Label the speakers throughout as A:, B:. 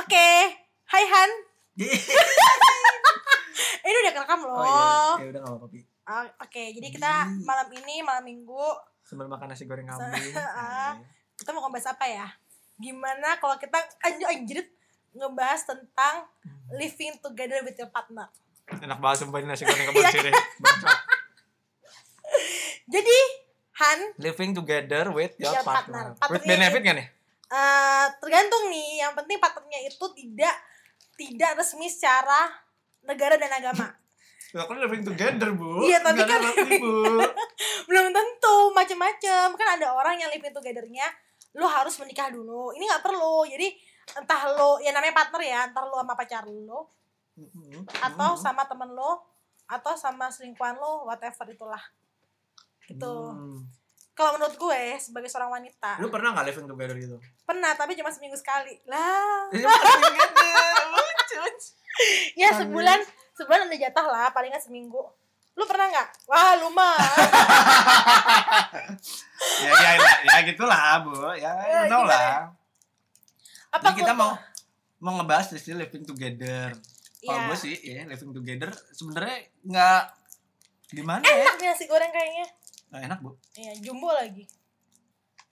A: Oke. Hai Han.
B: Oh, iya.
A: Ini udah kerekam loh.
C: oh iya.
B: Eh,
C: Ya udah gak apa-apa Pi.
A: Ah, Oke, jadi kita
C: Gini.
A: malam ini malam Minggu
C: Sebelum makan nasi goreng kambing.
A: Ah.
C: Nah, iya.
A: kita mau ngebahas apa ya? Gimana kalau kita anjir anjir ngebahas tentang living together with your partner.
B: Enak banget sumpah ini nasi goreng
A: Iya.
B: kemarin sih deh.
C: Bangsat.
A: Jadi Han
B: Living together with
A: Your
B: your
A: Iya, partner.
B: partner. With
A: Partnernya-
B: benefit gak nih?
A: eh, tergantung nih, yang penting partnernya itu tidak tidak resmi secara negara dan agama.
B: Aku living together bu.
A: Iya, tapi
B: Nggak
A: kan-
B: ada resmi, bu.
A: belum tentu macem-macem kan ada orang yang living togethernya lo harus menikah dulu ini nggak perlu jadi entah lo ya namanya partner ya entah lo sama pacar lo atau
B: Hmm.
A: sama temen lo atau sama selingkuhan lo whatever itulah gitu
C: Hmm.
A: kalau menurut gue sebagai seorang wanita
C: Lu pernah gak living together gitu?
A: pernah tapi cuma seminggu sekali lah
B: Iya, living together. Lucu.
A: ya sebulan sebulan ada jatah lah palingan seminggu lu pernah nggak wah lu mah
B: ya, ya, ya, ya gitulah bu. Ya,
A: Eh,
B: you know
A: gimana?
B: lah.
A: apa
B: Jadi kita
A: gua-
B: mau mau ngebahas di sini living together. Kalau
A: ya.
B: gue sih, ya living together sebenarnya nggak gimana ya?
A: enak nih nasi goreng kayaknya
B: Nggak enak bu.
A: ya jumbo lagi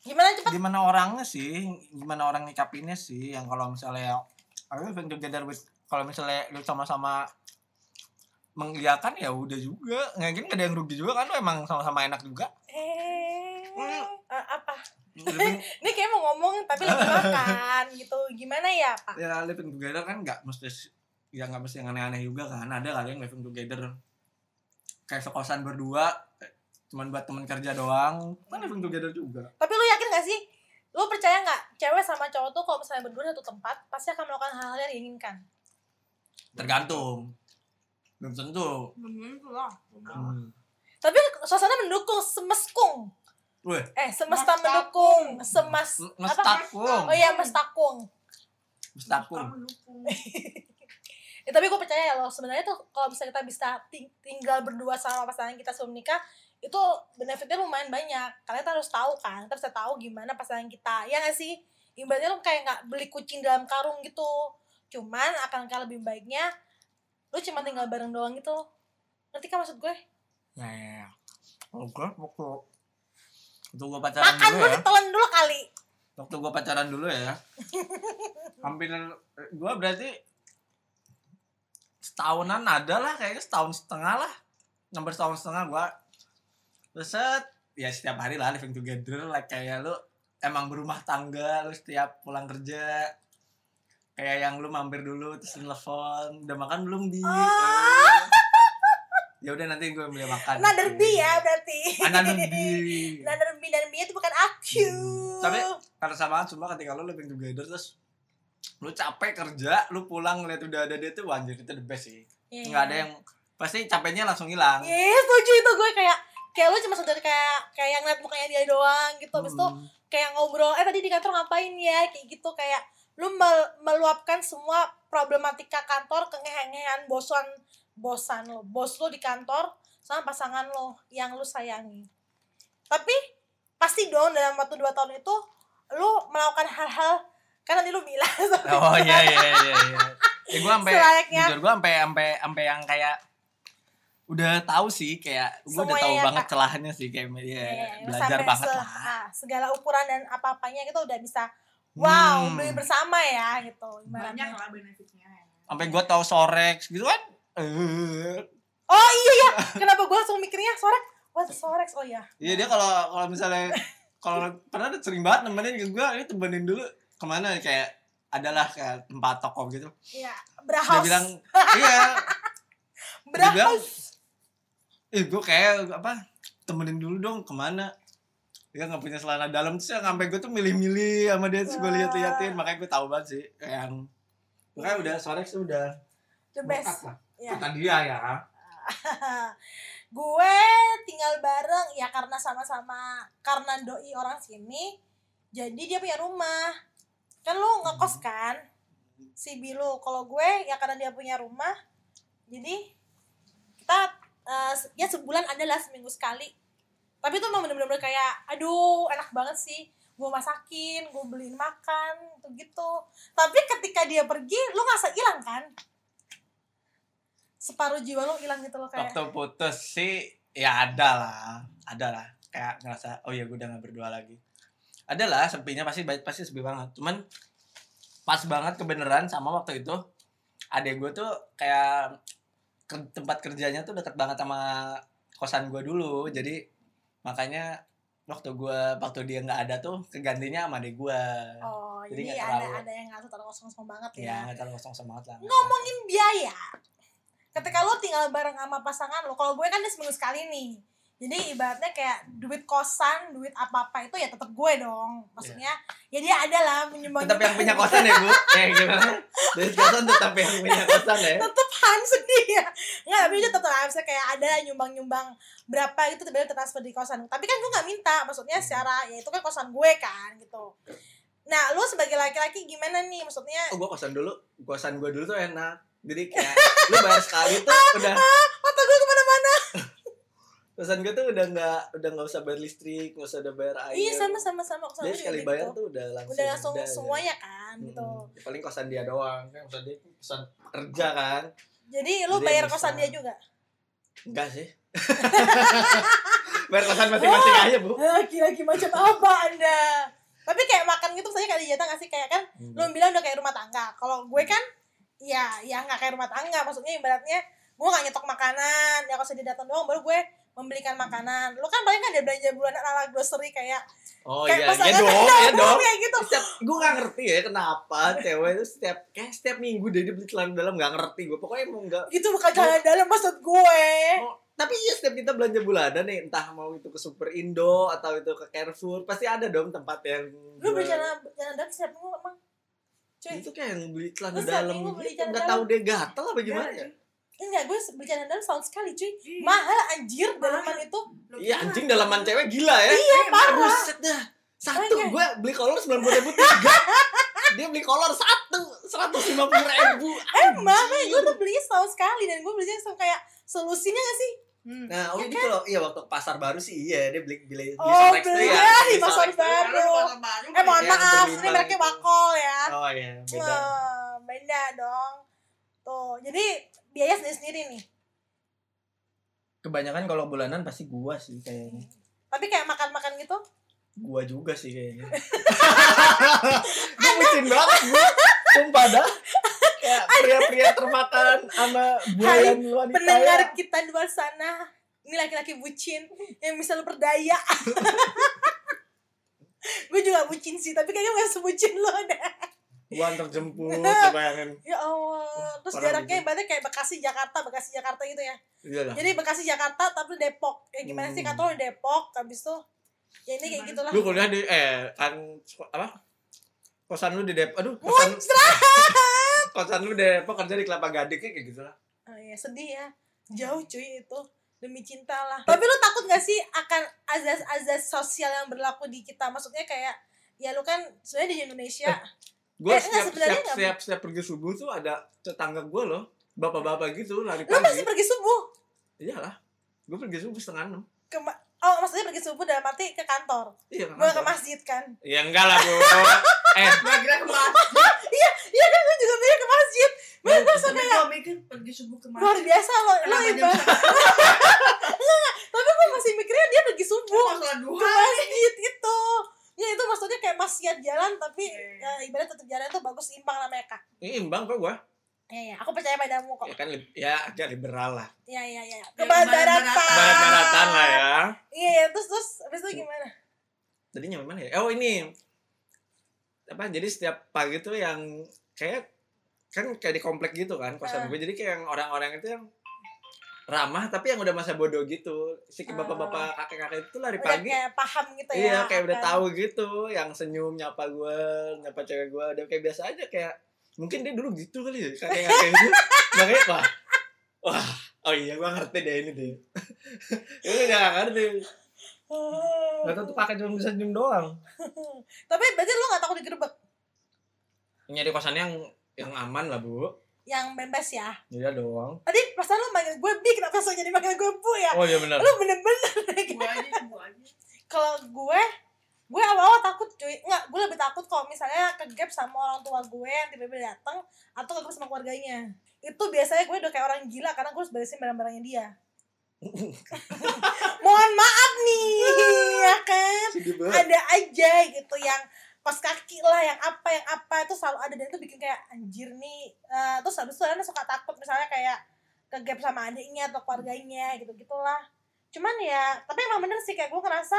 A: gimana cepet
B: gimana orangnya sih gimana orang nyikapinnya sih yang kalau misalnya aku living together with kalau misalnya lu sama-sama mengiyakan ya udah juga mungkin gak ada yang rugi juga kan lu emang sama-sama enak juga
A: eh
B: Hmm.
A: eh, apa
B: living,
A: ini kayak mau ngomong tapi lagi makan gitu gimana ya pak
B: ya living together kan nggak mesti ya nggak mesti yang aneh-aneh juga kan ada kali yang living together kayak sekosan berdua eh, cuman buat teman kerja doang kan living together juga
A: tapi lu yakin gak sih lu percaya nggak cewek sama cowok tuh kalau misalnya berdua di satu tempat pasti akan melakukan hal-hal yang diinginkan
B: tergantung belum tentu Hmm.
A: tapi suasana mendukung semeskung
B: Weh.
A: eh semesta
D: Mestakung.
A: mendukung semas apa
B: mestakung
A: oh iya mestakung
B: mestakung
A: Ya, tapi gue percaya ya loh sebenarnya tuh kalau misalnya kita bisa ting- tinggal berdua sama pasangan kita sebelum nikah itu benefitnya lumayan banyak karena kita harus tahu kan kita bisa tahu gimana pasangan kita ya nggak sih ibaratnya lu kayak nggak beli kucing dalam karung gitu cuman akan kalah lebih baiknya lu cuma tinggal bareng doang gitu ngerti kan maksud gue
B: Ya, ya, ya. Oke, waktu waktu gue pacaran
A: makan
B: dulu
A: lu
B: ya.
A: ditelan dulu kali
B: Waktu gue pacaran dulu ya. Hampir gue berarti setahunan ada lah kayaknya setahun setengah lah. Nomor setahun setengah gue. Reset ya setiap hari lah living together like kayak lu emang berumah tangga lu setiap pulang kerja kayak yang lu mampir dulu terus telepon udah makan belum di
A: Ah.
B: ya udah nanti gue beli makan
A: another bee
B: iya.
A: ya berarti
B: Another bee.
A: another bee dan bee itu bukan aku
B: Tapi karena samaan Nah, cuma ketika lu living together terus lu capek kerja, lu pulang lihat udah ada dia tuh wah, anjir itu the best sih.
A: Iya.
B: Enggak ada yang pasti capeknya langsung hilang.
A: Iya, setuju itu gue kayak kayak lu cuma sekedar kayak kayak ngeliat mukanya dia doang gitu. Habis itu
B: Hmm.
A: kayak ngobrol, eh tadi di kantor ngapain ya? Kayak gitu kayak lu mel- meluapkan semua problematika kantor, kengehan bosan bosan lo, bos lo di kantor sama pasangan lo yang lu sayangi. Tapi pasti dong dalam waktu 2 tahun itu lu melakukan hal-hal kan nanti lu bilang
B: Oh iya iya iya iya. Ya gua sampai
A: Selayaknya.
B: jujur gua sampai sampai sampai yang kayak udah tahu sih kayak gua udah
A: Semuanya
B: tahu
A: ya,
B: banget
A: Kak.
B: celahnya sih kayak ya,
A: Iya, iya,
B: belajar
A: sampai
B: banget
A: se-
B: lah.
A: ah, segala ukuran dan apa-apanya kita udah bisa wow
B: Hmm.
A: beli bersama ya gitu
D: banyak
A: ibaratnya.
D: lah benefitnya
B: Sampai gua tahu sorex gitu kan. Eh,
A: oh iya ya kenapa gue langsung mikirnya sorex wah sorex oh iya
B: Iya dia kalau kalau misalnya kalau pernah ada sering banget nemenin ke gue, ini temenin dulu kemana kayak adalah kayak tempat toko gitu.
A: iya
B: Dia
A: berhaus
B: bilang iya. dia bilang,
A: berhaus
B: Eh gue kayak apa temenin dulu dong kemana dia nggak punya celana dalam terus yang sampai gue tuh milih-milih sama dia terus gue
A: Wah.
B: lihat-liatin makanya gue tahu banget sih kayak yang makanya udah sore tuh udah
A: the best
B: lah.
A: Iya.
B: Kata dia ya
A: gue tinggal bareng ya karena sama-sama karena doi orang sini jadi dia punya rumah kan lu ngekos kan si Bilu kalau gue ya karena dia punya rumah jadi kita eh, se- ya sebulan adalah seminggu sekali tapi itu emang bener-bener kayak aduh enak banget sih gue masakin gue beliin makan gitu gitu tapi ketika dia pergi lu nggak hilang kan separuh jiwa lu hilang gitu loh kayak
B: waktu putus sih ya ada lah ada lah kayak ngerasa oh ya gue udah gak berdua lagi ada lah sepinya pasti pasti sepi banget cuman pas banget kebeneran sama waktu itu adek gue tuh kayak ke- tempat kerjanya tuh deket banget sama kosan gue dulu jadi makanya waktu gue waktu dia nggak ada tuh kegantinya sama adek gue
A: oh
B: Jadi
A: ini
B: nggak terlalu-
A: ada ada yang nggak terlalu kosong kosong banget ya
B: ya nggak terlalu kosong sama banget lah
A: ngomongin biaya ketika lo tinggal bareng sama pasangan lo kalau gue kan dia seminggu sekali nih jadi ibaratnya kayak duit kosan duit apa apa itu ya tetap gue dong maksudnya ya dia ada lah menyumbang
B: tetap yang punya kosan ya bu eh gimana dari kosan tetap yang punya kosan ya
A: tetap Hans dia nggak tapi dia tetap harusnya kayak ada nyumbang nyumbang berapa gitu tiba-tiba transfer di kosan tapi kan gue nggak minta maksudnya
B: Hmm.
A: secara ya itu kan kosan gue kan gitu nah lo sebagai laki-laki gimana nih maksudnya
B: oh, gue kosan dulu kosan gue dulu tuh enak jadi kayak lu bayar sekali tuh udah
A: mata gue kemana-mana
B: kosan gue tuh udah nggak udah nggak usah bayar listrik nggak usah ada bayar air
A: iya sama sama sama kosan gue
B: jadi
A: juga
B: sekali
A: kayak
B: bayar
A: gitu.
B: tuh udah langsung
A: udah langsung
B: ada.
A: semuanya kan
B: Mm-mm.
A: gitu
B: Ya, paling kosan dia doang kan kosan dia kosan kerja kan
A: jadi lu
B: Jadi
A: bayar
B: yang
A: kosan
B: bisa.
A: dia juga
B: enggak sih bayar kosan masing-masing aja bu
A: laki-laki macam apa anda tapi kayak makan gitu misalnya kayak di jatah nggak sih kayak kan lu
B: Hmm.
A: bilang udah kayak rumah tangga kalau gue kan ya ya nggak kayak rumah tangga maksudnya ibaratnya gue nggak nyetok makanan ya kalau sedih datang doang baru gue membelikan makanan lu kan paling kan ada belanja bulanan ala grocery kayak
B: oh
A: kayak
B: iya iya
A: pasangan
B: dong iya
A: kamu
B: dong
A: kayak gitu
B: setiap gue gak ngerti ya kenapa cewek itu setiap kayak setiap minggu dia dia beli celana dalam gak ngerti gue pokoknya mau gak
A: itu bukan jalan dalam maksud gue
B: Mau- tapi ya setiap kita belanja bulanan nih entah mau itu ke Super Indo atau itu ke Carrefour pasti ada dong tempat yang
A: lu
B: jual.
A: beli jalan jalan dalam siapa minggu emang cuy
B: itu kayak yang beli celana
A: Lu setiap
B: dalam
A: minggu beli
B: gitu,
A: celana
B: nggak
A: dalam. Iya,
B: tahu dia gatel apa gimana ya
A: enggak gue beli jalan dalam setahun sekali cuy mahal anjir dalaman itu
B: iya anjing dalaman cewek gila ya
A: iya parah
B: buset dah satu
A: Makanya.
B: gue beli kolor sembilan puluh ribu tiga dia beli kolor satu seratus lima puluh ribu
A: Emang, eh, makanya gue tuh belinya setahun sekali dan gue belinya setahun kayak solusinya gak sih?
D: Hmm.
B: nah oh ini kalau iya waktu pasar baru sih iya dia beli beli beli
A: Oh,
B: Solex tuh
A: beli
B: ya,
A: ya di
B: beli
A: pasar
B: Solex tuh ya.
A: baru. Eh mohon maaf, ini
B: Yang berlimpah
A: mereknya
B: gitu.
A: Wakol ya.
B: oh iya beda
A: Wah, beda dong. Tuh, jadi biaya sendiri-sendiri nih.
B: kebanyakan kalau bulanan pasti gua sih kayaknya
A: Tapi kayak makan-makan gitu,
B: gua juga sih kayaknya gua bucin banget gua sumpah dah kayak pria-pria termakan sama buayan wanita
A: pendengar
B: ya.
A: kita di luar sana, ini laki-laki bucin yang bisa lu perdaya. gue juga bucin sih, tapi kayaknya gak sebucin lo deh.
B: gua antar jemput kebayangin
A: Ya Allah, terus
B: Parah
A: jaraknya ibaratnya kayak Bekasi Jakarta, Bekasi Jakarta gitu ya.
B: iya lah
A: Jadi Bekasi Jakarta tapi Depok. Ya gimana sih
B: Hmm.
A: kata lu Depok habis itu ya ini kayak gitulah.
B: lu kuliah di eh kan seko- apa kosan lu di Depok aduh kosan
A: Muncrat.
B: kosan lu di Depok kerja di Kelapa Gading kayak gitu lah
A: Oh ya sedih ya. Jauh cuy itu demi cinta lah. Tapi lu takut gak sih akan azas-azas sosial yang berlaku di kita? Maksudnya kayak ya lu kan sebenarnya di Indonesia Eh,
B: gua
A: enggak,
B: setiap,
A: sebenarnya
B: setiap,
A: enggak.
B: setiap, setiap pergi subuh tuh ada tetangga gua loh bapak-bapak gitu lari
A: lu pasti
B: pagi
A: pergi subuh.
B: iyalah gua pergi subuh setengah enam
A: Ke ma- oh maksudnya pergi subuh dalam arti ke kantor.
B: iya
A: Gue
B: kenapa?
A: ke masjid kan.
B: Ya enggak lah, Bu. eh,
D: Gue kira kemarin
A: Iya kan gue juga mikir ke masjid. Gue langsung
D: tapi
A: kayak
D: gue mikir pergi subuh
A: ya, luar
D: kemarin.
A: biasa lo lo
D: Kenapa
A: iba.
D: jam
A: Tapi gue masih mikirnya dia pergi subuh.
D: Pas
A: ke
D: sholat duha.
A: masjid itu ya itu maksudnya kayak masjid jalan tapi ya,
D: Iya.
A: ibarat tetap jalan tuh bagus imbang lah mereka
B: ini imbang kok gua.
A: ya ya aku percaya padamu kok
B: Ya kan lib- ya agak liberal lah.
A: ya ya ya
D: barat-baratan.
A: kebarat-baratan
B: Barat-baratan lah ya.
A: iya ya, terus terus habis
B: Iya.
A: itu gimana
B: Tadi nyampe mana ya? Oh, ini. Apa jadi setiap pagi tuh yang kayak kan kayak di komplek gitu
A: Ah.
B: kan kosan gue. Jadi kayak yang orang-orang itu yang ramah tapi yang udah masa bodoh gitu. Si
A: Ah.
B: bapak-bapak kakek-kakek itu lari
A: udah
B: pagi.
A: kayak paham gitu ya
B: Iya, kayak udah
A: akan-
B: tahu gitu, yang senyum nyapa gue, nyapa cewek gue, udah kayak biasa aja kayak mungkin dia dulu gitu kali ya, kayak kayak gitu. Makanya wah, wah, oh iya gue ngerti deh ini deh. ini udah gak ngerti.
A: Oh.
B: Gak tau tuh kakek cuma bisa senyum doang.
A: tapi berarti lu gak takut digerebek
B: Nyari kosan yang yang aman lah bu,
A: yang bebas ya
B: iya doang.
A: tadi perasaan lu manggil gue bi kenapa langsung jadi manggil gue bu ya
B: Oh iya benar.
A: lu bener-bener
D: Gue aja, gue aja.
A: kalau gue gue awal-awal takut cuy kalau misalnya ke gap sama orang tua gue yang tiba-tiba datang atau ke gap sama keluarganya itu biasanya gue udah kayak orang gila karena gue harus beresin barang-barangnya dia mohon maaf nih ya kan
B: Sedih
A: ada aja gitu yang kos kaki lah yang apa yang apa itu selalu ada dan itu bikin kayak anjir nih Eh, terus habis itu anak suka takut misalnya kayak ke gap sama adiknya atau keluarganya gitu gitulah cuman ya tapi emang bener sih kayak gue ngerasa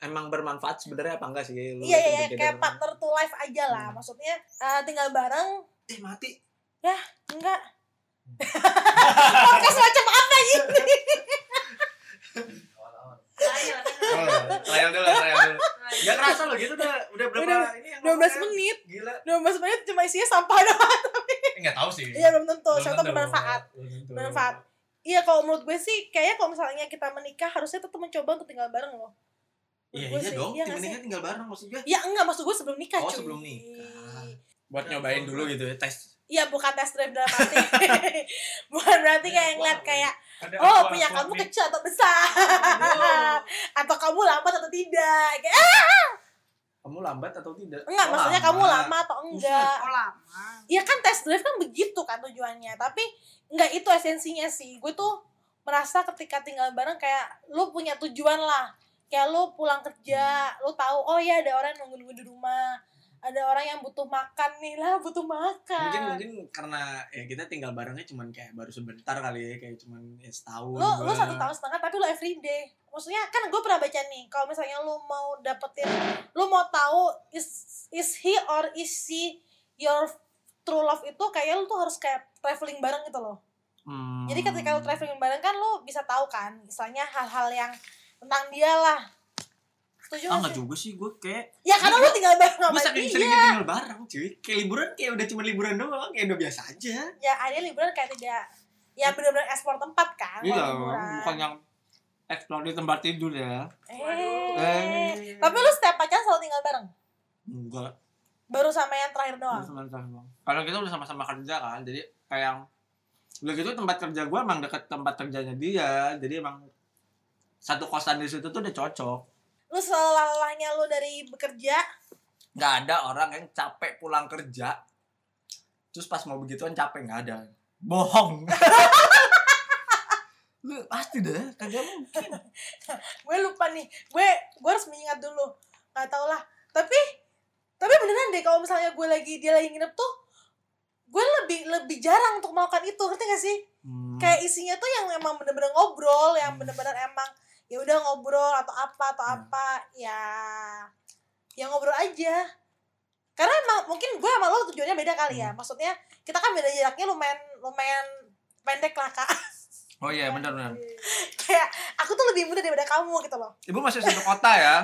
C: Emang bermanfaat sebenarnya apa enggak sih? lu
A: iya iya
C: Living
A: iya
B: gitu
C: Together?
A: kayak partner to life aja lah
B: Hmm.
A: maksudnya eh, tinggal bareng
B: Eh mati.
A: enggak
B: Hmm.
A: podcast macam apa ini
B: Trial
D: Trial, kan?
B: Oh, dulu, trial dulu. Gak kerasa loh gitu udah udah berapa
A: Udah
B: ini yang
A: 12 menit
B: Gila.
A: 12 menit cuma isinya sampah doang
B: Eh enggak tahu sih.
A: iya belum tentu siapa tahu bermanfaat Bermanfaat. iya kalau menurut gue sih kayaknya kalau misalnya kita menikah harusnya tetap mencoba untuk tinggal bareng loh Menurut
B: Iya,
A: gue
B: iya
A: sih,
B: dong.
A: iya
B: Tim
A: nggak sih?
B: mendingan tinggal bareng maksud gue.
A: Ya enggak maksud gue sebelum nikah
B: Oh,
A: cuy.
B: sebelum nikah. Buat nyobain dulu gitu ya tes.
A: Iya bukan test drive dalam arti Bukan berarti kayak ngeliat kayak Oh punya kamu kecil atau besar Atau kamu lambat atau tidak Kayak, eh,
B: Kamu lambat atau tidak?
A: Enggak
B: Oh,
A: maksudnya kamu lama atau enggak
D: Oh lama.
A: Iya kan test drive kan begitu kan tujuannya Tapi enggak itu esensinya sih Gue tuh merasa ketika tinggal bareng kayak Lu punya tujuan lah Kayak lu pulang kerja Lu tahu oh ya ada orang yang nunggu-nunggu di rumah Ada orang yang butuh makan nih lah Butuh makan
B: Mungkin mungkin karena ya kita tinggal barengnya cuman kayak baru sebentar kali ya, kayak cuman ya setahun.
A: lu lu
B: dua.
A: satu tahun setengah tapi lu everyday maksudnya kan gue pernah baca nih kalau misalnya lu mau dapetin lu mau tahu is is he or is she your true love itu kayak lu tuh harus kayak traveling bareng gitu loh
B: Hmm.
A: jadi ketika lu traveling bareng kan lu bisa tahu kan misalnya hal-hal yang tentang dia lah setuju
B: Ah
A: nggak
B: enggak
A: sih?
B: juga sih gue kayak
A: ya karena lu tinggal bareng
B: gue
A: sama iya.
B: saking
A: dia
B: seringnya tinggal bareng cuy kayak liburan kayak udah cuma liburan doang kayak udah biasa aja
A: ya ada liburan kayak tidak ya benar-benar ekspor tempat kan
B: Iya,
A: kalau liburan.
B: yang explore di tempat tidur ya
A: eh. tapi lu setiap pacaran selalu tinggal bareng
B: enggak
A: baru sama yang terakhir
B: Iya,
A: doang
B: kalau kita udah sama-sama kerja kan jadi kayak udah gitu tempat kerja gue emang deket tempat kerjanya dia jadi emang satu kosan di situ tuh udah cocok
A: lu selalahnya lu dari bekerja
B: nggak ada orang yang capek pulang kerja terus pas mau begituan capek nggak ada bohong lu pasti deh kagak mungkin
A: gue lupa nih gue gue harus mengingat dulu nggak tau lah tapi tapi beneran deh kalau misalnya gue lagi dia lagi nginep tuh gue lebih lebih jarang untuk melakukan itu ngerti gak sih
B: Hmm.
A: kayak isinya tuh yang emang bener-bener ngobrol yang bener-bener emang ya udah ngobrol atau apa atau
B: Ya.
A: apa ya ya ngobrol aja karena emang mungkin gue sama lo tujuannya beda kali ya maksudnya kita kan beda jaraknya lumayan lumayan pendek lah kak
B: oh iya benar benar
A: kayak aku tuh lebih muda daripada kamu gitu loh
B: ibu masih satu kota ya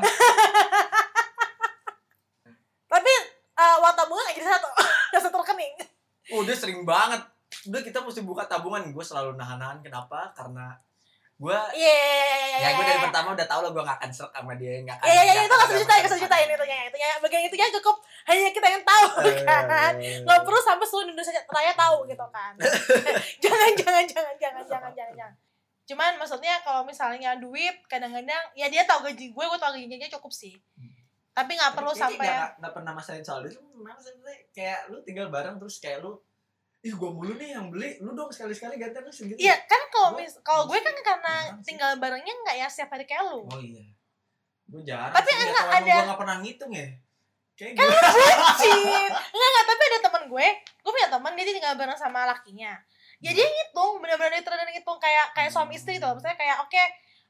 A: tapi uh, uang tabungan nggak jadi satu udah satu rekening
B: Oh, udah sering banget. Udah kita mesti buka tabungan. Gue selalu nahan-nahan. Kenapa? Karena gue
A: iya iya iya iya
B: ya gue dari
A: iya
B: pertama udah tau lah gue gak akan serk sama dia nggak akan
A: Iya, iya, iya,
B: nggak
A: itu nggak
B: akan
A: sejuta, nggak
B: dapat
A: sejuta ini
B: apa.
A: itu ya, itu ya. Bagian itu ya cukup hanya kita yang tahu kan.
B: Eh,
A: Nggak perlu sampai seluruh Indonesia raya tahu gitu kan. jangan, jangan, jangan, jangan, jangan, jangan, jangan. Cuman maksudnya kalau misalnya duit kadang-kadang ya dia tahu gaji gue, gue tahu gaji dia cukup sih. Tapi nggak perlu
B: tapi kayaknya
A: sampai
B: nggak- nggak pernah masain soal itu memang sebenarnya kayak lu tinggal bareng terus kayak lu ih gue mulu nih yang beli lu dong sekali sekali ganti lu segitu
A: Iya, kan kalau
B: Gua-
A: mis- kalau gue kan karena
B: Apaan sih?
A: tinggal barengnya nggak ya setiap hari kayak lu.
B: oh iya gue jarang
A: Tapi
B: sih, nggak
A: enggak
B: tahu emang
A: ada- Kan
B: gue nggak pernah ngitung ya kayak gitu. gue
A: bucin enggak enggak tapi ada teman gue gue punya teman dia tinggal bareng sama lakinya ya dia ngitung benar-benar literal ngitung kayak kayak suami istri gitu loh maksudnya kayak oke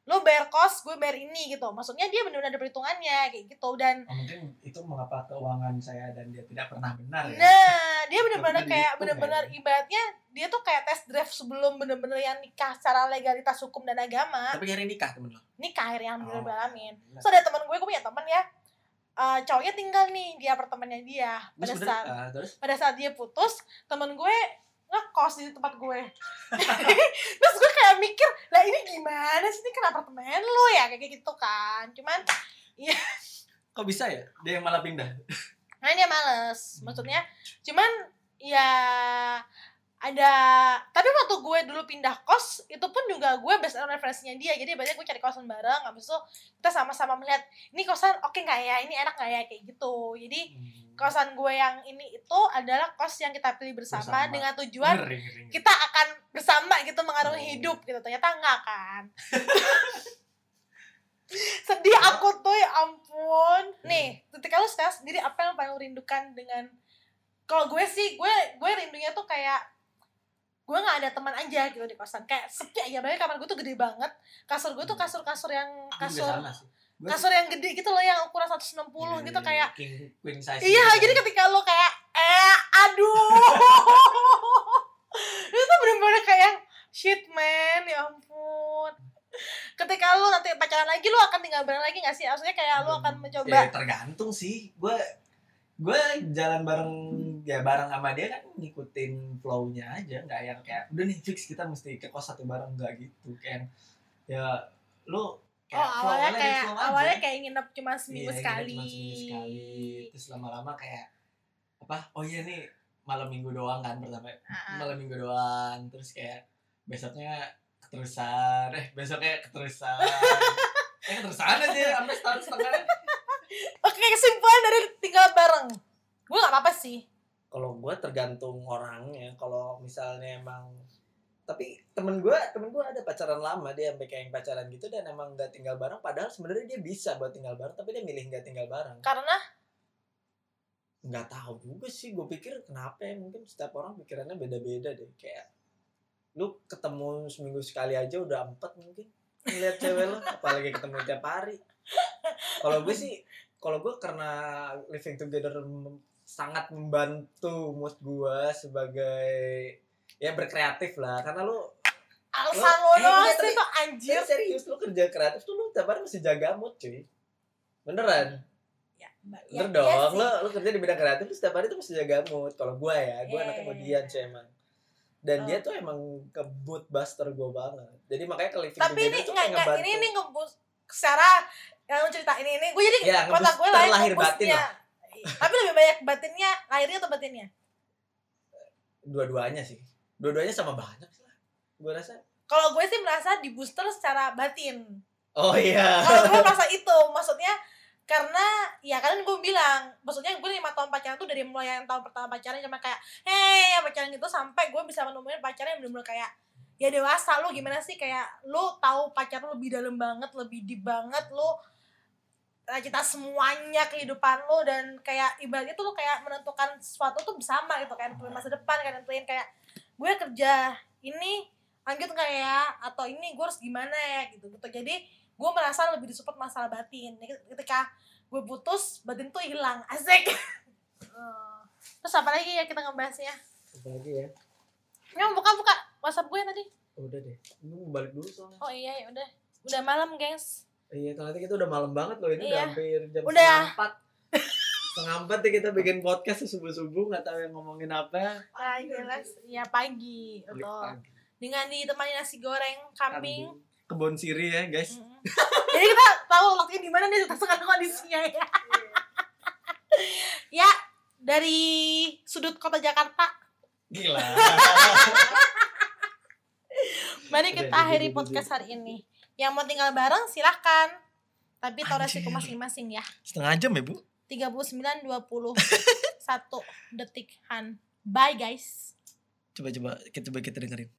A: lo bayar kos gue bayar ini gitu maksudnya dia benar-benar ada perhitungannya kayak gitu dan
B: Nah, mungkin itu mengapa keuangan saya dan dia tidak pernah benar ya
A: nah dia benar-benar kayak
B: Benar-benar dihitung, ya.
A: benar-benar ibaratnya dia tuh kayak tes drive sebelum benar-benar yang nikah secara legalitas hukum dan agama
B: tapi akhirnya nikah temen lo
A: nikah akhirnya alhamdulillah
B: Oh.
A: gue alamin so ada teman gue gue punya teman ya eh, cowoknya tinggal nih di apartemennya dia pada
B: Terus udah,
A: saat
B: eh, terus
A: pada saat dia putus temen gue ngekos di tempat gue terus gue kayak mikir lah ini gimana sih ini kan apartemen lu ya kayak gitu kan cuman
B: kok bisa ya dia yang malah pindah
A: nah, karena dia males maksudnya cuman ya ada tapi waktu gue dulu pindah kos itu pun juga gue based on referensinya dia jadi berarti gue cari kosan bareng habis itu kita sama-sama melihat ini kosan oke nggak ya ini enak nggak ya kayak gitu jadi kosan gue yang ini itu adalah kos yang kita pilih bersama,
B: Bersama.
A: dengan tujuan
B: Ngeri, ngeri,
C: Iya.
B: ngeri.
A: kita akan bersama gitu mengarungi
B: Oh.
A: hidup gitu ternyata enggak kan sedih aku tuh ya ampun nih ketika lu sekarang sendiri apa yang paling lu rindukan dengan kalau gue sih gue gue rindunya tuh kayak gue nggak ada teman aja gitu di kosan kayak sepi aja banget kamar gue tuh gede banget kasur gue tuh kasur kasur yang kasur kasur yang gede gitu loh yang ukuran 160
C: Iya,
A: gitu kayak
B: king queen size
A: Iya,
B: gitu.
A: jadi ketika lo kayak eh aduh. itu tuh bener-bener kayak shit man, ya ampun. Ketika lo nanti pacaran lagi lo akan tinggal bareng lagi gak sih? Maksudnya kayak lo
C: Iya,
A: akan
B: ya
A: mencoba "Oh,
B: tergantung sih gue gue jalan bareng ya bareng sama dia kan ngikutin flow-nya aja nggak yang kayak udah nih fix kita mesti ke kos satu bareng nggak gitu kayak ya lu
A: Oh, awalnya
B: flow-nya
A: kayak
B: flow aja.
A: awalnya kayak nginep cuma seminggu
B: Iya,
A: sekali.
B: cuma seminggu sekali. terus lama-lama kayak apa oh iya nih malam minggu doang kan pertama
A: Ah.
B: malam minggu doang terus kayak besoknya keterusan eh besoknya keterusan eh keterusan aja sampai setahun setengah
A: Oke, kesimpulan dari tinggal bareng. Gue gak apa-apa sih.
C: kalau gue tergantung orangnya kalau misalnya emang tapi temen gue temen gue ada pacaran lama dia sampai kayak yang pacaran gitu dan emang nggak tinggal bareng padahal sebenarnya dia bisa buat tinggal bareng tapi dia milih nggak tinggal bareng
A: Karena
C: nggak tahu juga sih gue pikir kenapa ya mungkin setiap orang pikirannya beda-beda deh kayak lu ketemu seminggu sekali aja udah empat mungkin ngeliat cewek lu apalagi ketemu tiap hari kalau gue sih kalau gue karena living together mem- sangat membantu mood gue sebagai ya berkreatif lah karena lu
A: alasan lo
C: Lo- eh,
A: doang
C: iya,
A: sih
C: tapi-
A: tuh anjir.
C: ya serius lu kerja kreatif tuh lu tiap hari mesti jaga mood cuy beneran
A: Ya, Mbak, ya,
C: Bener
A: iya
C: dong,
A: sih.
C: lo, lo kerja di bidang kreatif terus setiap hari tuh mesti jaga mood. Kalau gue ya, gue
A: Iya,
C: anaknya
A: iya,
C: modian
A: iya.
C: sih emang. Dan
A: Oh.
C: dia tuh emang ke mood buster gue banget. Jadi makanya ke living
A: tapi
C: together
A: ini
C: tuh
A: enggak
C: kayak
A: enggak
C: ngebantu.
A: ini ini ngebus secara yang cerita ini ini gue jadi
C: Ya,
A: kota
C: ngeboost
A: gue lain
C: terlahir batin
A: ngebustnya tapi lebih banyak batinnya lahirnya atau batinnya
C: Dua-duanya sih. Dua-duanya sama banyak sih lah. Gue rasa.
A: kalau gue sih merasa di booster secara batin
C: Oh iya.
A: kalau gue merasa itu maksudnya karena ya kalian gue bilang maksudnya gue lima tahun pacaran tuh dari mulai yang tahun pertama pacaran cuma kayak hei pacaran gitu sampai gue bisa menemukan pacaran yang benar-benar kayak ya dewasa lu gimana sih kayak lu tahu pacar lu lebih dalam banget lebih deep banget lu eh, cerita semuanya kehidupan lu dan kayak ibaratnya tuh lu kayak menentukan sesuatu tuh bersama gitu kan Nentuin masa depan kan nentuin kayak gue kerja ini lanjut nggak ya atau ini gue harus gimana ya gitu gitu jadi gue merasa lebih disupport masalah batin Jadi ketika gue putus batin tuh hilang asik Eh, terus apa lagi ya kita ngebahasnya
C: Apalagi ya.
A: Nyom buka buka WhatsApp gue tadi
C: Udah deh. Gue mau balik dulu soalnya.
A: oh iya ya udah udah malam gengs
C: Iya, ternyata kita udah malam banget loh. Ini udah
A: Iya.
C: hampir jam
A: Udah.
C: setengah empat. Setengah empat nih kita bikin podcast tuh subuh-subuh. Gak tahu yang ngomongin apa.
A: ah jelas iya pagi betul
B: Pagi.
A: dengan ditemani nasi goreng kambing Mm.
C: Kebon siri ya guys.
A: Mm-mm. Jadi kita tahu waktunya di mana nih sekarang kondisinya ya. ya dari sudut kota Jakarta,
B: gila
A: mari kita
C: Udah,
A: akhiri
C: udah, udah,
A: podcast hari ini. Yang mau tinggal bareng silahkan, tapi tahu resiko
B: Anjir.
A: masing-masing ya.
B: setengah jam ya bu
A: 39 20 1 detik Han. Bye guys.
B: coba coba kita coba kita dengerin